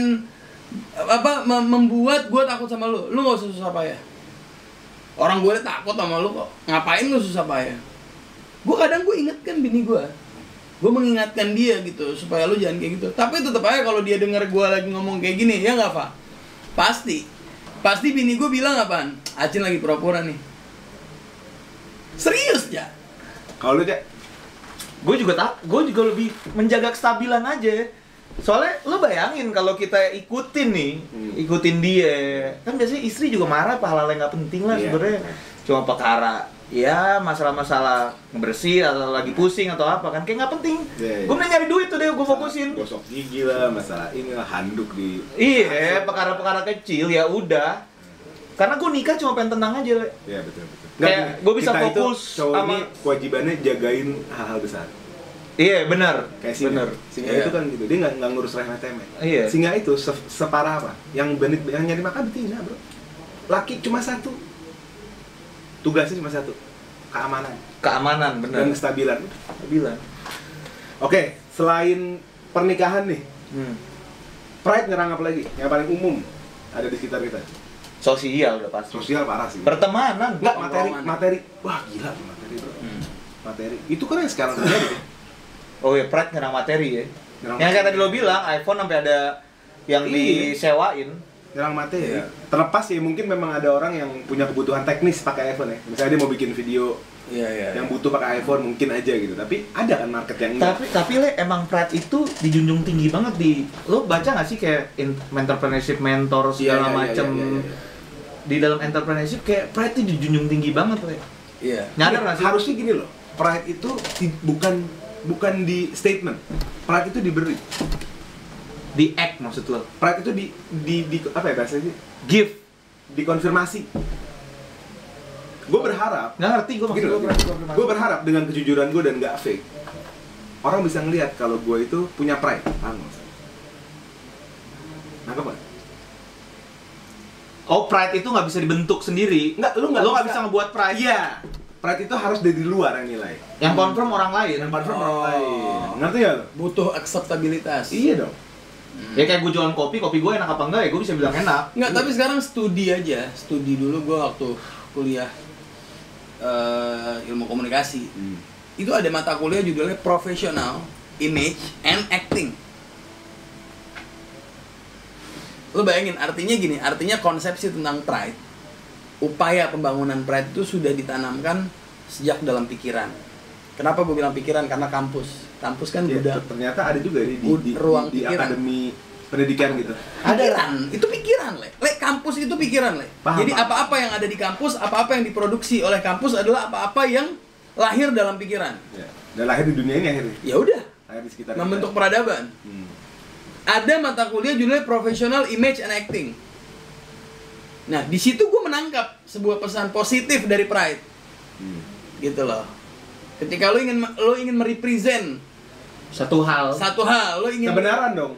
S3: apa mem- membuat gue takut sama lu lu nggak usah susah payah orang gue takut sama lu kok ngapain lu susah payah gue kadang gue ingatkan bini gue gue mengingatkan dia gitu supaya lu jangan kayak gitu tapi tetap aja kalau dia dengar gue lagi ngomong kayak gini ya nggak Fa? pasti pasti bini gue bilang apaan Acin lagi pura-pura nih serius ya
S2: kalau lu cek
S1: Gue juga tak, gue juga lebih menjaga kestabilan aja. Soalnya lu bayangin kalau kita ikutin nih,
S2: Hmm.
S1: ikutin dia. Kan biasanya istri juga marah pahala yang nggak penting lah
S2: Iya.
S1: sebenarnya. Cuma perkara ya masalah-masalah bersih atau lagi pusing atau apa kan kayak nggak penting.
S2: Iya, iya.
S1: Gue mending nyari duit tuh deh gue fokusin.
S2: gosok gigi lah masalah inilah handuk di
S1: Iya, perkara-perkara kecil ya udah. Karena gue nikah cuma pengen tenang aja. Le.
S2: Iya betul betul.
S1: Kayak
S2: gini,
S1: gua bisa
S2: kita itu,
S1: fokus
S2: cowok
S1: sama-
S2: ini kewajibannya jagain hal-hal besar.
S1: Iya, benar.
S2: Kayak singa.
S1: Benar.
S2: Singa
S3: Iya.
S2: itu kan gitu, dia nggak nggak ngurus remeh temeh.
S1: Iya.
S2: Singa itu se- separah apa? Yang benit yang nyari makan betina bro. Laki cuma satu. Tugasnya cuma satu. Keamanan
S1: Keamanan, benar.
S2: dan kestabilan.
S1: Kestabilan.
S2: Oke, selain pernikahan nih,
S1: Hmm.
S2: pride nyerang apa lagi? Yang paling umum ada di sekitar kita.
S1: Sosial udah pasti.
S2: Sosial parah sih.
S1: Pertemanan.
S2: Enggak materi,
S3: Tongkrongan.
S2: materi. Wah gila tuh materi bro.
S1: Hmm.
S2: Materi. Itu kan yang sekarang terjadi. bro.
S1: Oh ya, pride nyerang materi ya.
S2: Nyerang
S1: yang kayak
S2: materi.
S1: tadi lo bilang, iPhone sampai ada yang
S2: Iya.
S1: disewain.
S2: nyerang materi
S1: Iya.
S2: terlepas ya mungkin memang ada orang yang punya kebutuhan teknis pakai iPhone ya misalnya dia mau bikin video
S3: iya iya
S2: yang butuh pakai iPhone mungkin aja gitu tapi ada kan market yang enggak
S1: Tapi tapi le emang pride itu dijunjung tinggi banget di lo baca nggak sih kayak in- entrepreneurship mentor segala macem di dalam entrepreneurship kayak pride itu dijunjung tinggi banget le.
S3: iya
S1: Nyadar nggak sih?
S2: harusnya gini loh pride itu ti- bukan bukan di statement pride itu diberi
S1: Di act maksud lo.
S2: pride itu di di, di- apa ya bahasanya sih
S1: Give.
S2: dikonfirmasi gue berharap
S1: Nggak ngerti gue maksud
S2: gini
S1: lo.
S2: loh gue Gitu, berharap dengan kejujuran gue dan gak fake orang bisa ngelihat kalau gue itu punya pride paham nggak? nangkep nggak?
S1: Oh pride itu nggak bisa dibentuk sendiri.
S2: Nggak, lu nggak
S1: lo nggak
S2: bisa.
S1: bisa ngebuat pride.
S2: Iya. Pride itu harus dari luar yang nilai.
S1: Yang confirm orang lain.
S2: Yang confirm
S3: Oh.
S2: orang lain. Ngerti ya lo?
S3: butuh acceptabilitas
S2: Iya dong.
S1: Ya kayak gue jualan kopi, kopi gue enak apa enggak ya gue bisa bilang enak.
S3: Nggak, tapi sekarang studi aja. Studi dulu gue waktu kuliah eh, ilmu komunikasi.
S2: Hmm.
S3: Itu ada mata kuliah judulnya Professional Image and Acting. Lo bayangin, artinya gini, artinya konsepsi tentang pride. Upaya pembangunan pride itu sudah ditanamkan sejak dalam pikiran. Kenapa gue bilang pikiran? Karena kampus. Kampus kan
S2: Ya,
S3: udah
S2: ter- ternyata ada juga di di, di,
S3: Ruang
S2: di, di
S3: pikiran.
S2: akademi pendidikan gitu.
S3: pikiran itu pikiran le le kampus itu pikiran le
S2: Paham,
S3: jadi
S2: paham.
S3: apa-apa yang ada di kampus apa-apa yang diproduksi oleh kampus adalah apa-apa yang lahir dalam pikiran
S2: Ya. Dan lahir di dunia ini akhirnya.
S3: ya udah
S2: Lahir di sekitar. kita.
S3: membentuk peradaban
S2: Hmm.
S3: ada mata kuliah judulnya professional image and acting nah di situ gue menangkap sebuah pesan positif dari pride
S2: Hmm.
S3: gitu loh ketika lo ingin lo ingin merepresent
S1: Satu hal.
S3: satu hal lo ingin
S2: Kebenaran dong.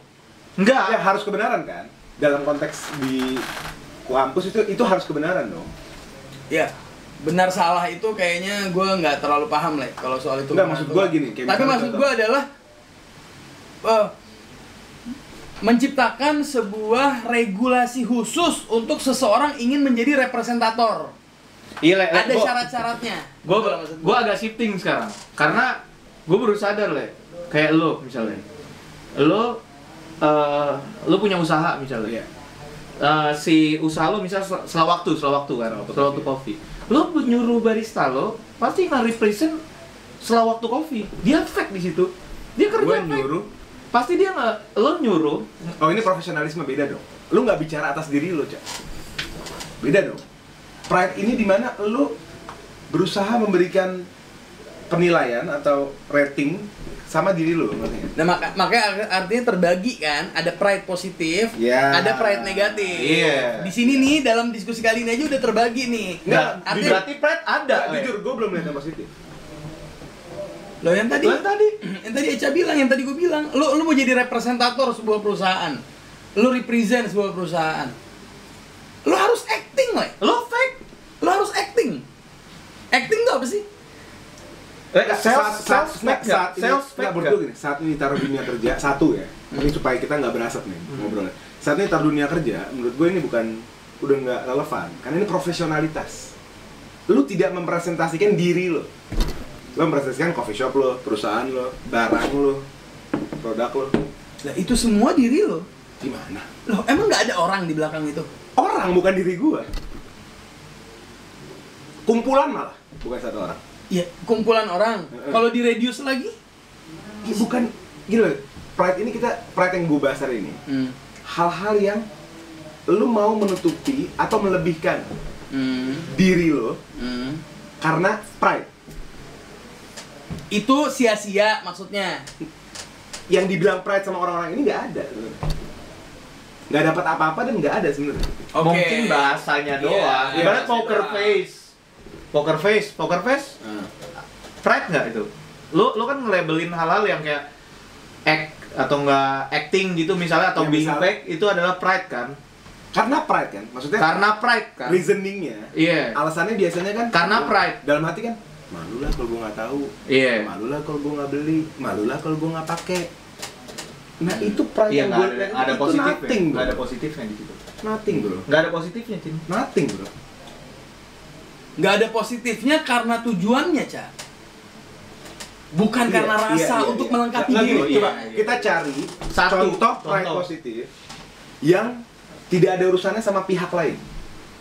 S2: Ya
S1: Enggak.
S2: harus kebenaran kan. Dalam konteks di kampus itu itu harus kebenaran dong.
S3: ya benar salah itu kayaknya gue nggak terlalu paham lah kalau soal itu
S2: Nggak, maksud gua gini, kayak
S3: tapi
S2: misalnya
S3: maksud
S2: contoh.
S3: gue adalah eh, menciptakan sebuah regulasi khusus untuk seseorang ingin menjadi representator
S1: Iya, le, le,
S3: ada
S1: gua-
S3: syarat-syaratnya
S1: Gue
S3: Itu lah maksud
S1: gue agak shifting sekarang karena gue baru sadar le kayak lo misalnya lo eh, lo punya usaha misalnya
S2: Iya.
S1: eh, si usaha lo misal sel- setelah waktu, setelah waktu kan,
S2: Setelah waktu
S1: setelah waktu kopi. Lo nyuruh barista lo pasti nge-represent setelah waktu kopi. Dia fake di situ. Dia kerja
S2: Gue
S1: fake.
S2: nyuruh.
S1: Pasti dia nggak, lo nyuruh.
S2: Oh ini profesionalisme beda dong. Lu nggak bicara atas diri lu, Cak. Beda dong. Pride ini dimana lu berusaha memberikan penilaian atau rating sama diri lu maksudnya.
S3: Nah, maka, makanya ar- artinya terbagi kan, ada pride positif,
S2: Ya.
S3: ada pride negatif.
S2: Iya.
S3: Di sini nih dalam diskusi kali ini aja udah terbagi nih.
S2: Nggak,
S1: Nah,
S3: artinya-
S1: berarti pride ada. eh.
S2: Nggak,
S1: weh.
S2: jujur, gue belum lihat yang positif.
S3: Lo yang tadi,
S1: Lo yang tadi.
S3: yang tadi Eca bilang, yang tadi gue bilang, lo lo mau jadi representator sebuah perusahaan, lo represent sebuah perusahaan, lo harus acting lah,
S1: Lo fake.
S3: lo harus acting. Acting tuh apa sih?
S1: Eh, sales,
S2: Saat- saat-
S1: sales fake nggak?
S2: saat ini-
S1: Sales
S2: nggak,
S1: fake
S2: menurut
S1: nggak?
S2: gue gini, saat ini taruh dunia kerja satu ya. Ini supaya kita nggak berasap nih ngobrolnya. Saat ini taruh dunia kerja, menurut gue ini bukan udah nggak relevan karena ini profesionalitas. Lu tidak mempresentasikan diri lo. Lo mempresentasikan coffee shop lo, perusahaan lo, barang lo, produk lo.
S3: Lah itu semua diri lo.
S2: Gimana?
S3: Loh, emang nggak ada orang di belakang itu?
S2: Orang bukan diri gue. Kumpulan malah, bukan satu orang.
S3: Ya, kumpulan orang.
S2: Heeh.
S3: Kalau di radius lagi?
S2: Ya, bukan gini loh. Pride ini kita pride yang gue bahas hari ini.
S3: Hmm.
S2: hal-hal yang lu mau menutupi atau melebihkan
S3: Hmm.
S2: diri lo
S3: Hmm.
S2: karena pride
S3: Itu sia-sia maksudnya.
S2: yang dibilang pride sama orang-orang ini nggak ada nggak dapat apa-apa dan nggak ada sebenarnya
S3: Oke.
S1: Mungkin bahasanya
S3: Iya,
S1: doang.
S3: iya,
S1: Ibarat
S3: bahasanya
S1: poker
S3: doang.
S1: face. Poker face, poker face. pride nggak itu? Lu lu kan nge-labelin halal yang kayak act atau enggak acting gitu misalnya atau
S2: Ya,
S1: being
S2: misalnya.
S1: fake itu adalah pride kan?
S2: karena pride kan maksudnya
S1: Karena pride kan.
S2: reasoningnya
S1: Iya.
S2: alasannya biasanya kan
S1: Karena pride.
S2: dalam hati kan malu lah kalau gue nggak tahu
S1: Iya.
S2: malu lah kalau gue nggak beli malu lah kalau gue nggak pakai nah itu pride
S1: Iya
S2: yang
S1: nggak
S2: gue
S1: ada, ada
S2: itu
S1: positifnya.
S2: nothing bro
S1: Nggak ada positifnya di situ.
S2: nothing bro
S1: Nggak ada positifnya, Cin.
S2: nothing bro
S3: nggak ada positifnya karena tujuannya Ca bukan
S2: Iya,
S3: Kan karena
S2: iya,
S3: rasa
S2: iya,
S3: untuk
S2: iya.
S3: melengkapi
S2: Nggak,
S3: diri
S2: gini,
S1: iya,
S2: coba
S1: iya.
S2: kita cari
S1: Satu,
S2: contoh pride
S1: contoh.
S2: positif yang tidak ada urusannya sama pihak lain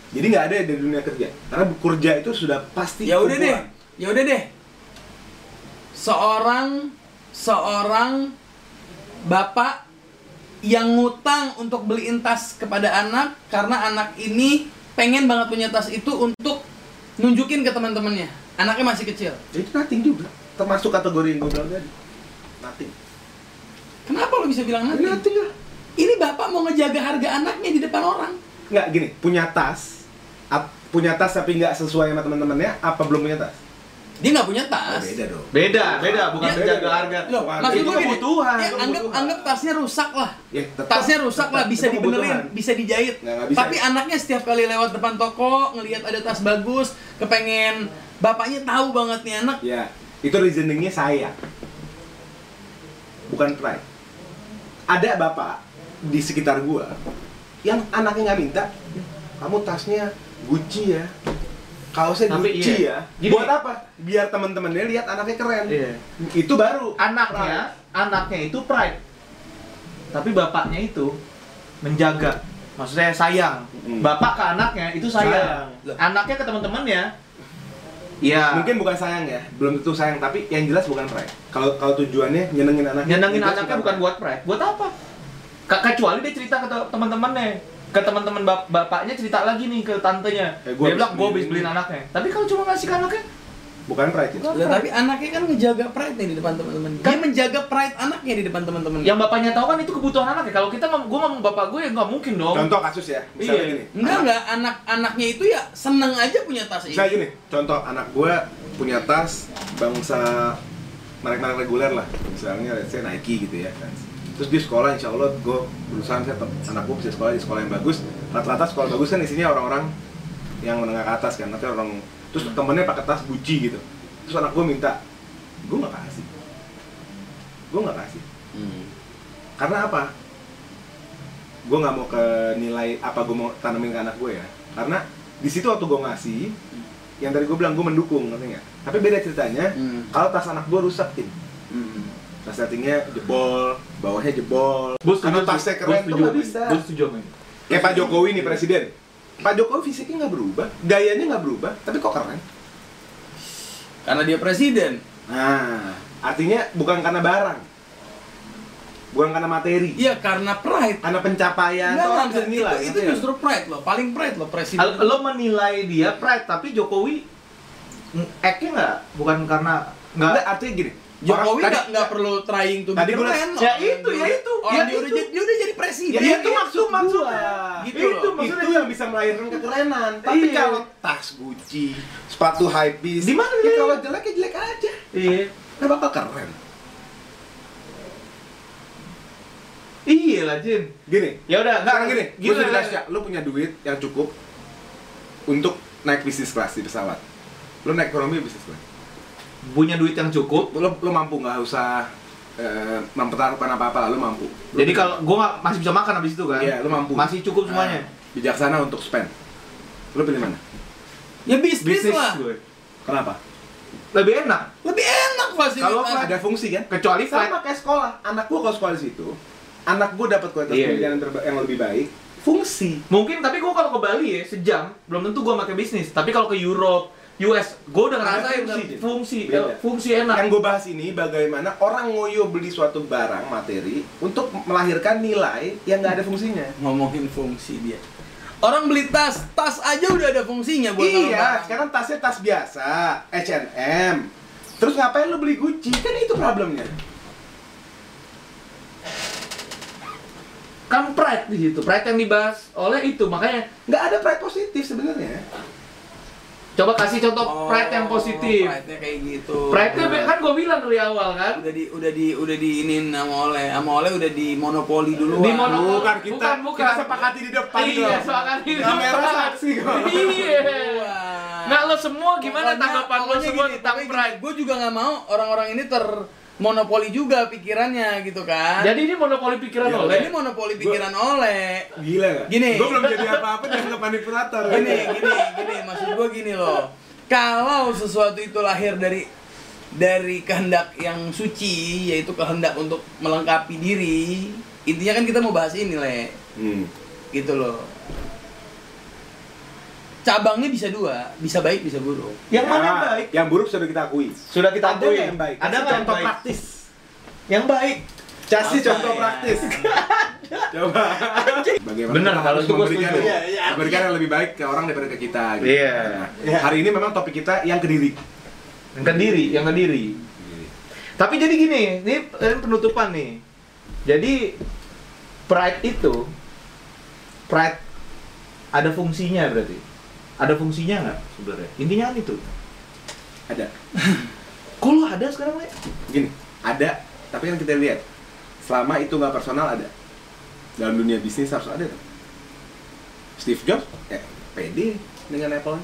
S2: jadi nggak ada di dunia kerja karena kerja itu sudah pasti
S3: ya udah deh
S2: kumpulan.
S3: ya udah deh seorang seorang bapak yang ngutang untuk beliin tas kepada anak karena anak ini pengen banget punya tas itu untuk nunjukin ke teman-temannya anaknya masih kecil
S2: Jadi itu nothing juga termasuk kategori yang gue bilang tadi nothing
S3: kenapa lo bisa bilang
S2: Ini
S3: nanti
S2: nothing lah
S3: ini bapak mau ngejaga harga anaknya di depan orang
S2: nggak gini punya tas ap- punya tas tapi nggak sesuai sama teman-temannya apa belum punya tas
S3: dia nggak punya tas
S2: dong
S1: Beda, beda, bukan
S3: Iya.
S1: menjaga harga.
S3: Loh,
S2: Warna
S3: maksud
S1: itu
S3: gue gini,
S1: kebutuhan,
S3: ya,
S2: itu
S3: anggap
S2: kebutuhan.
S3: anggap tasnya rusak lah.
S2: ya, tetap,
S3: Tasnya rusak
S2: tetap,
S3: lah, bisa
S2: itu
S3: dibenerin,
S2: kebutuhan.
S3: bisa dijahit.
S2: Nggak, nggak bisa.
S3: Tapi anaknya setiap kali lewat depan toko, ngelihat ada tas bagus, kepengen bapaknya tahu banget nih anak.
S2: ya itu reasoningnya saya bukan pride ada bapak di sekitar gua yang anaknya nggak minta kamu tasnya Gucci ya kaosnya
S1: Tapi
S2: Gucci
S1: iya.
S2: ya
S1: Gini.
S2: buat apa biar teman-temannya lihat anaknya keren
S1: Iya.
S2: itu baru
S1: Anaknya, anaknya itu pride. Tapi bapaknya itu menjaga. Maksudnya sayang.
S2: Mm.
S1: Bapak ke anaknya itu sayang.
S2: Sayang. Loh.
S1: Anaknya ke teman-temannya Iya.
S2: Pride. mungkin bukan sayang ya belum tentu sayang tapi yang jelas bukan pride kalau kalau tujuannya nyenengin anaknya
S1: nyenengin
S2: itu
S1: anaknya bukan
S2: pride.
S1: buat pride buat apa Ke- kecuali dia cerita ke te- teman-temannya ke teman-teman bap- bapaknya cerita lagi nih ke tantenya
S2: Eh, gua
S1: dia
S2: habis
S1: bilang gue
S2: beliin
S1: habis
S2: ini."
S1: beliin anaknya tapi kalau cuma ngasih ke anaknya
S2: bukan pride ya.
S1: Bukan.
S3: Lah, tapi anaknya kan ngejaga pride nih di depan teman-teman. Dia
S1: Kan-
S3: menjaga pride anaknya di depan teman-teman.
S1: yang bapaknya tahu kan itu kebutuhan anaknya kalau kita ngom- gua ngomong bapak gue ya nggak mungkin dong
S2: contoh kasus ya misalnya
S1: Iya.
S2: gini
S3: Enggak enggak anak-anaknya itu ya seneng aja punya tas ini.
S2: Misalnya gini, contoh anak gue punya tas bangsa merek-merek reguler lah Misalnya let's say Nike gitu ya kan Terus dia sekolah insya Allah gue berusaha misalnya tem- anak gue bisa sekolah di sekolah yang bagus Rata-rata sekolah bagus kan isinya orang-orang yang menengah ke atas kan Nanti orang, terus temennya pakai tas Gucci gitu Terus anak gue minta, gue gak kasih Gue gak kasih
S3: Hmm.
S2: karena apa gue nggak mau ke nilai apa gue mau tanamin ke anak gue ya karena di situ waktu gue ngasih yang tadi gue bilang gue mendukung ngerti nggak tapi beda ceritanya
S3: Hmm.
S2: kalau tas anak gue rusak tim Hmm. tas settingnya jebol bawahnya jebol
S1: Gua setuju,
S2: karena
S1: gua
S2: tasnya keren tuh
S1: setuju
S2: nggak
S1: sama ini.
S2: bisa
S1: Gua setuju sama ini.
S2: Kayak Pak Jokowi nih presiden. Pak Jokowi fisiknya nggak berubah, gayanya nggak berubah, tapi kok keren.
S3: Karena dia presiden.
S2: Nah, artinya bukan karena barang, bukan karena materi,
S3: Iya karena pride.
S2: karena pencapaian.
S3: Enggak,
S2: Ya, orang ya.
S3: enggak,
S2: bisa nilai.
S3: itu, itu justru pride loh, paling pride loh presiden.
S1: Al- lo menilai dia pride tapi Jokowi mm, act-nya nggak bukan karena nggak
S2: Nggak, artinya gini.
S3: Jokowi
S2: orang-
S3: nggak
S2: tadi-
S3: nggak perlu trying to be
S2: Tadi gua-
S3: keren.
S1: ya
S3: Orang
S1: itu, ya
S3: dia-
S1: itu,
S3: Orang
S1: ya
S3: dia udah
S1: itu.
S3: jadi dia udah jadi presiden.
S2: Ya,
S1: Iya,
S2: itu
S1: iya,
S2: maksud
S1: gua.
S2: maksudnya.
S1: Gitu
S2: itu
S1: loh.
S2: maksudnya
S1: Itu.
S2: yang bisa melahirkan kekerenan. Tapi
S1: Iya.
S2: kalau tas Gucci, sepatu high
S1: Di mana
S2: ya
S1: dia?
S2: kalau jelek ya jelek aja.
S1: iya
S2: Nggak bakal keren.
S1: iya lah Jin
S2: Gini,
S1: ya udah nggak
S2: sekarang gini, ya.
S1: gini
S2: gini
S1: lah.
S2: lu punya duit yang cukup untuk naik bisnis kelas di pesawat. Lu naik ekonomi bisnis kelas.
S1: punya duit yang cukup
S2: Lu, lu mampu nggak usah eh, mempertaruhkan apa-apa lah, lu mampu. Lu-
S1: jadi kalau gue masih bisa makan habis itu kan
S2: Iya, lu mampu.
S1: masih cukup semuanya
S2: Ah, bijaksana untuk spend. Lu pilih mana?
S3: Ya
S2: Gitu
S3: bisnis,
S1: bisnis
S3: lah.
S1: gue
S2: Kenapa?
S1: lebih enak
S3: Lebih enak fasilitas.
S2: Kalau ada fungsi kan?
S1: kecuali
S2: sama
S1: flight
S2: kayak sekolah anak gua kalau sekolah di situ anak gua dapat kualitas
S1: Iya,
S2: pendidikan yang terba- yang lebih baik fungsi
S1: mungkin tapi gue kalau ke Bali ya sejam belum tentu gue pakai bisnis tapi kalau ke Europe US gue udah ngerasain
S2: Ada fungsi, Jin.
S1: fungsi eh,
S2: Beda.
S1: fungsi
S2: yang
S1: enak
S2: gua bahas ini bagaimana orang ngoyo beli suatu barang materi untuk melahirkan nilai yang nggak ada fungsinya
S3: ngomongin fungsi dia. Orang beli tas, tas aja udah ada fungsinya buat
S2: iya
S3: orang-orang.
S2: sekarang tasnya tas biasa H&M terus ngapain lu beli Gucci kan itu problemnya
S1: kan pride di situ pride yang dibahas oleh itu makanya
S2: nggak ada pride positif sebenarnya
S1: coba kasih contoh
S3: Oh,
S1: pride yang positif
S3: Pride-nya kayak gitu.
S1: Pride-nya be- kan gue bilang dari awal kan.
S3: udah di udah di udah di iniin sama oleh sama oleh udah di monopoli dulu
S1: Di mono-
S2: bukan kita
S1: bukan, bukan.
S2: kita sepakati di depan
S1: Iya,
S2: loh.
S1: soalnya ini
S2: kamera
S1: soalnya-
S2: saksi kok
S1: Iya. Nah, lo semua gimana tanggapan lo semua tentang Pride?
S3: gue juga nggak mau orang-orang ini termonopoli juga pikirannya gitu kan
S1: Jadi ini monopoli pikiran
S2: Iya,
S1: oleh.
S3: ini monopoli pikiran oleh
S2: Gila gak?
S3: Gini.
S2: Gue belum jadi apa-apa jadi ke manipulator
S3: gini gini gini maksud gue gini loh kalau sesuatu itu lahir dari dari kehendak yang suci yaitu kehendak untuk melengkapi diri intinya kan kita mau bahas ini le
S2: Hmm.
S3: gitu loh cabangnya bisa dua bisa baik bisa buruk
S1: Yang mana yang baik?
S2: Ya, Yang buruk sudah kita akui
S1: Sudah kita
S2: Ada
S1: akui.
S2: nggak yang baik?
S1: Ada
S2: Kasih
S1: nggak yang
S2: contoh
S1: baik?
S2: praktis
S1: Yang baik.
S2: Kasih
S3: Apa
S2: contoh
S3: ya?
S2: praktis Coba Iya, Bagaimana
S1: Bener,
S2: kita
S1: kalau
S2: harus
S1: itu gua
S2: memberikan, ya?
S1: setuju.
S2: memberikan yang lebih baik ke orang daripada ke kita gitu.
S1: Iya.
S2: Nah, Hari ini memang topik kita yang kediri
S1: Yang kediri, yang kediri. Iya. Tapi jadi gini, ini ini penutupan nih. Jadi pride itu pride ada fungsinya berarti. Ada fungsinya nggak sebenarnya? Intinya kan itu.
S2: Ada
S1: Kok lo ada sekarang, Le?
S2: Gini Ada Tapi kan kita lihat Selama itu nggak personal ada Dalam dunia bisnis harus ada tuh. Steve Jobs eh, pede dengan Apple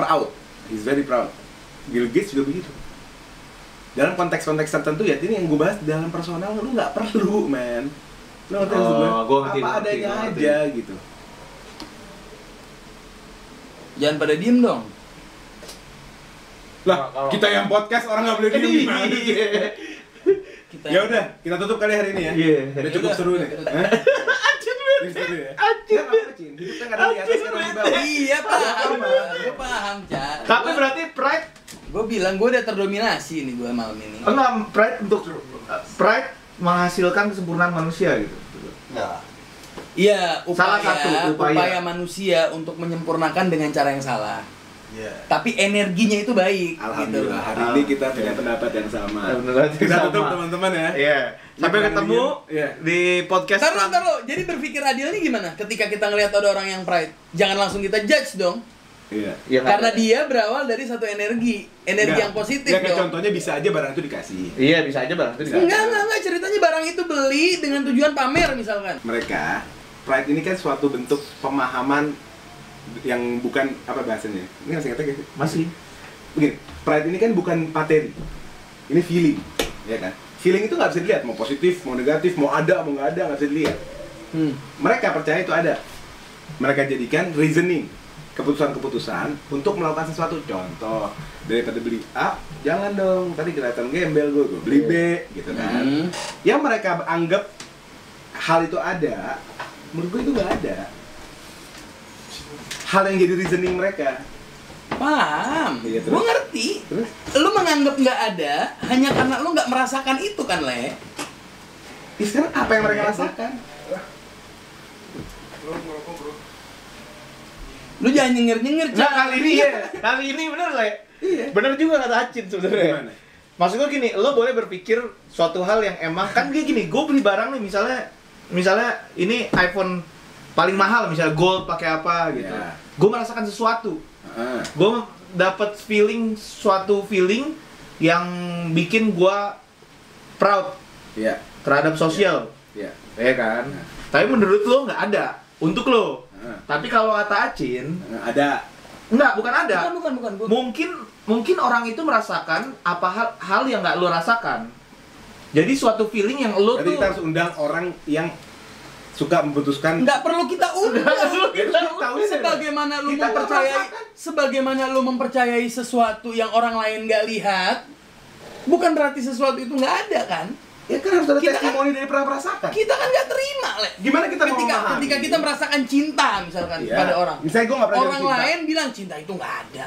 S2: Proud He's very proud Bill Gates juga begitu dalam konteks-konteks tertentu ya ini yang gue bahas dalam personal lu nggak perlu man lu ngerti maksud gue?
S1: Oh, gua ngerti,
S2: apa
S1: gua ngerti,
S2: adanya
S1: gua ngerti.
S2: aja gitu
S3: jangan pada diem dong
S2: lah kita yang podcast orang nggak boleh
S1: Iya,
S2: diem gimana sih?
S3: kita
S2: Iya. ya udah kita tutup kali hari ini ya
S1: Iya.
S2: udah cukup
S3: Udah.
S2: seru nih Hah? Ini seru ya
S1: Anjir,
S2: Nggak apa-apa, Cin. Hidupnya kadang di atas kadang di bawah
S3: iya paham gue paham cak
S1: Tapi berarti pride
S3: gue bilang gue udah terdominasi nih gue malam ini
S1: enggak pride untuk pride menghasilkan kesempurnaan manusia gitu.
S3: iya
S1: Salah
S3: upaya
S1: satu upaya.
S3: manusia untuk menyempurnakan dengan cara yang salah tapi energinya itu baik gitu loh.
S2: Alhamdulillah hari ini kita punya pendapat yang sama.
S1: Alhamdulillah,
S2: Kita
S1: sama.
S2: tutup teman-teman ya.
S1: Iya. Sampai
S2: Jangan
S1: ketemu
S2: diem. Iya.
S1: di podcast
S3: Taruh,
S1: Prang-
S3: taruh. Jadi berpikir adilnya gimana? Ketika kita ngelihat ada orang yang pride, jangan langsung kita judge dong.
S2: Iya.
S1: Ya, nggak-
S3: Karena dia berawal dari satu energi, energi
S2: Nggak.
S3: yang positif
S2: Ya kayak
S3: dong.
S2: contohnya bisa aja barang itu dikasih.
S1: Iya, bisa aja barang itu
S3: Enggak, enggak, enggak. Ceritanya barang itu beli dengan tujuan pamer misalkan.
S2: Mereka pride ini kan suatu bentuk pemahaman yang bukan apa bahasanya? Ini masih kata gitu.
S1: Masih.
S2: Begini, pride ini kan bukan materi. Ini feeling, ya kan? Feeling itu nggak bisa dilihat, mau positif, mau negatif, mau ada, mau nggak ada, nggak bisa dilihat.
S3: Hmm.
S2: Mereka percaya itu ada. Mereka jadikan reasoning keputusan-keputusan untuk melakukan sesuatu. Contoh, daripada beli A, jangan dong. Tadi kelihatan gembel gue, gue beli B, gitu kan.
S3: Hmm.
S2: Yang mereka anggap hal itu ada menurut gue itu nggak ada hal yang jadi reasoning mereka
S3: Paham.
S2: Iya, terus?
S3: Gua ngerti.
S2: terus
S3: Lu menganggap nggak ada hanya karena lu nggak merasakan itu kan, Le?
S2: ya sekarang apa yang mereka rasakan
S3: Lu jangan nyengir-nyengir,
S1: Nah
S3: Cak.
S1: kali ini ya, kali ini bener lah ya.
S3: Iya.
S1: Bener juga kata Acin sebenarnya.
S2: Gimana?
S1: Maksud gue gini, lo boleh berpikir suatu hal yang emang kan dia gini, gue beli barang nih misalnya, misalnya ini iPhone paling mahal misalnya gold pakai apa gitu.
S2: Iya.
S1: Gue merasakan sesuatu,
S2: Ah,
S1: gue dapat feeling suatu feeling yang bikin gue proud
S2: iya
S1: terhadap sosial,
S2: iya
S1: ya kan. Tapi menurut lo nggak ada untuk lo.
S2: Ah,
S1: Tapi kalau kata Acin,
S2: ah, ada
S1: nggak bukan ada.
S3: Bukan, bukan, bukan. Gua-
S1: mungkin mungkin orang itu merasakan apa hal hal yang nggak lo rasakan jadi suatu feeling yang lo
S2: Berarti
S1: tuh
S2: kita harus undang orang yang suka memutuskan
S3: nggak perlu kita undang.
S2: Kita tahu sih,
S3: sebagaimana lu
S2: Kita
S3: mempercayai
S2: terpaksakan.
S3: sebagaimana lu mempercayai sesuatu yang orang lain nggak lihat bukan berarti sesuatu itu nggak ada kan
S2: ya kan harus ada
S3: Kita
S2: testimoni dari pernah merasakan
S3: kita kan nggak terima le
S2: Gimana kita mau
S3: ketika
S2: memahami?
S3: ketika kita merasakan cinta misalkan
S2: Iya.
S3: pada orang
S2: Misalnya gua nggak pernah
S3: orang
S2: jatuh cinta.
S3: lain bilang cinta itu nggak ada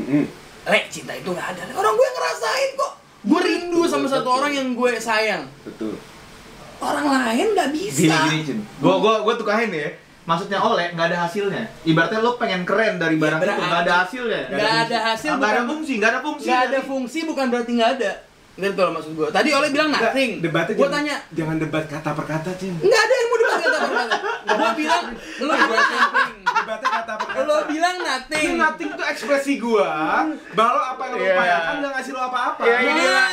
S2: Mm-mm.
S3: le cinta itu nggak ada orang gue ngerasain kok gue rindu sama satu orang yang gue sayang
S2: betul
S3: orang lain nggak bisa
S1: gini gini Cin gua gua gua tukahin ya maksudnya oleh nggak ada hasilnya ibaratnya lo pengen keren dari barang itu
S3: Ya, berarti-
S1: Iya, nggak ada hasilnya
S3: nggak ada hasil
S1: nggak ada
S3: bukan-
S1: fungsi nggak ada fungsi
S3: nggak ada
S1: dari-
S3: fungsi bukan berarti nggak ada ngerti loh maksud gue tadi oleh bilang
S2: Nggak,
S3: nothing
S2: debatnya
S3: gue
S2: jangan-
S3: tanya Iya.
S2: jangan debat kata per kata cing
S3: nggak ada yang mau debat kata per kata gue bilang lo nothing
S2: debatnya kata per kata
S3: lo bilang nothing
S2: Ini nothing tuh ekspresi gua Bahwa apa yang lu
S1: Iya.
S2: upayakan nggak ngasih lu apa-apa
S1: ya
S2: Nah,
S1: inilah
S3: Nah,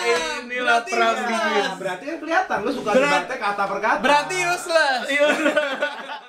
S1: inilah
S3: berarti
S1: perang
S3: nggak.
S1: dingin
S2: berarti kan kelihatan lu suka
S3: Berat-
S2: debatnya kata per kata
S3: berarti useless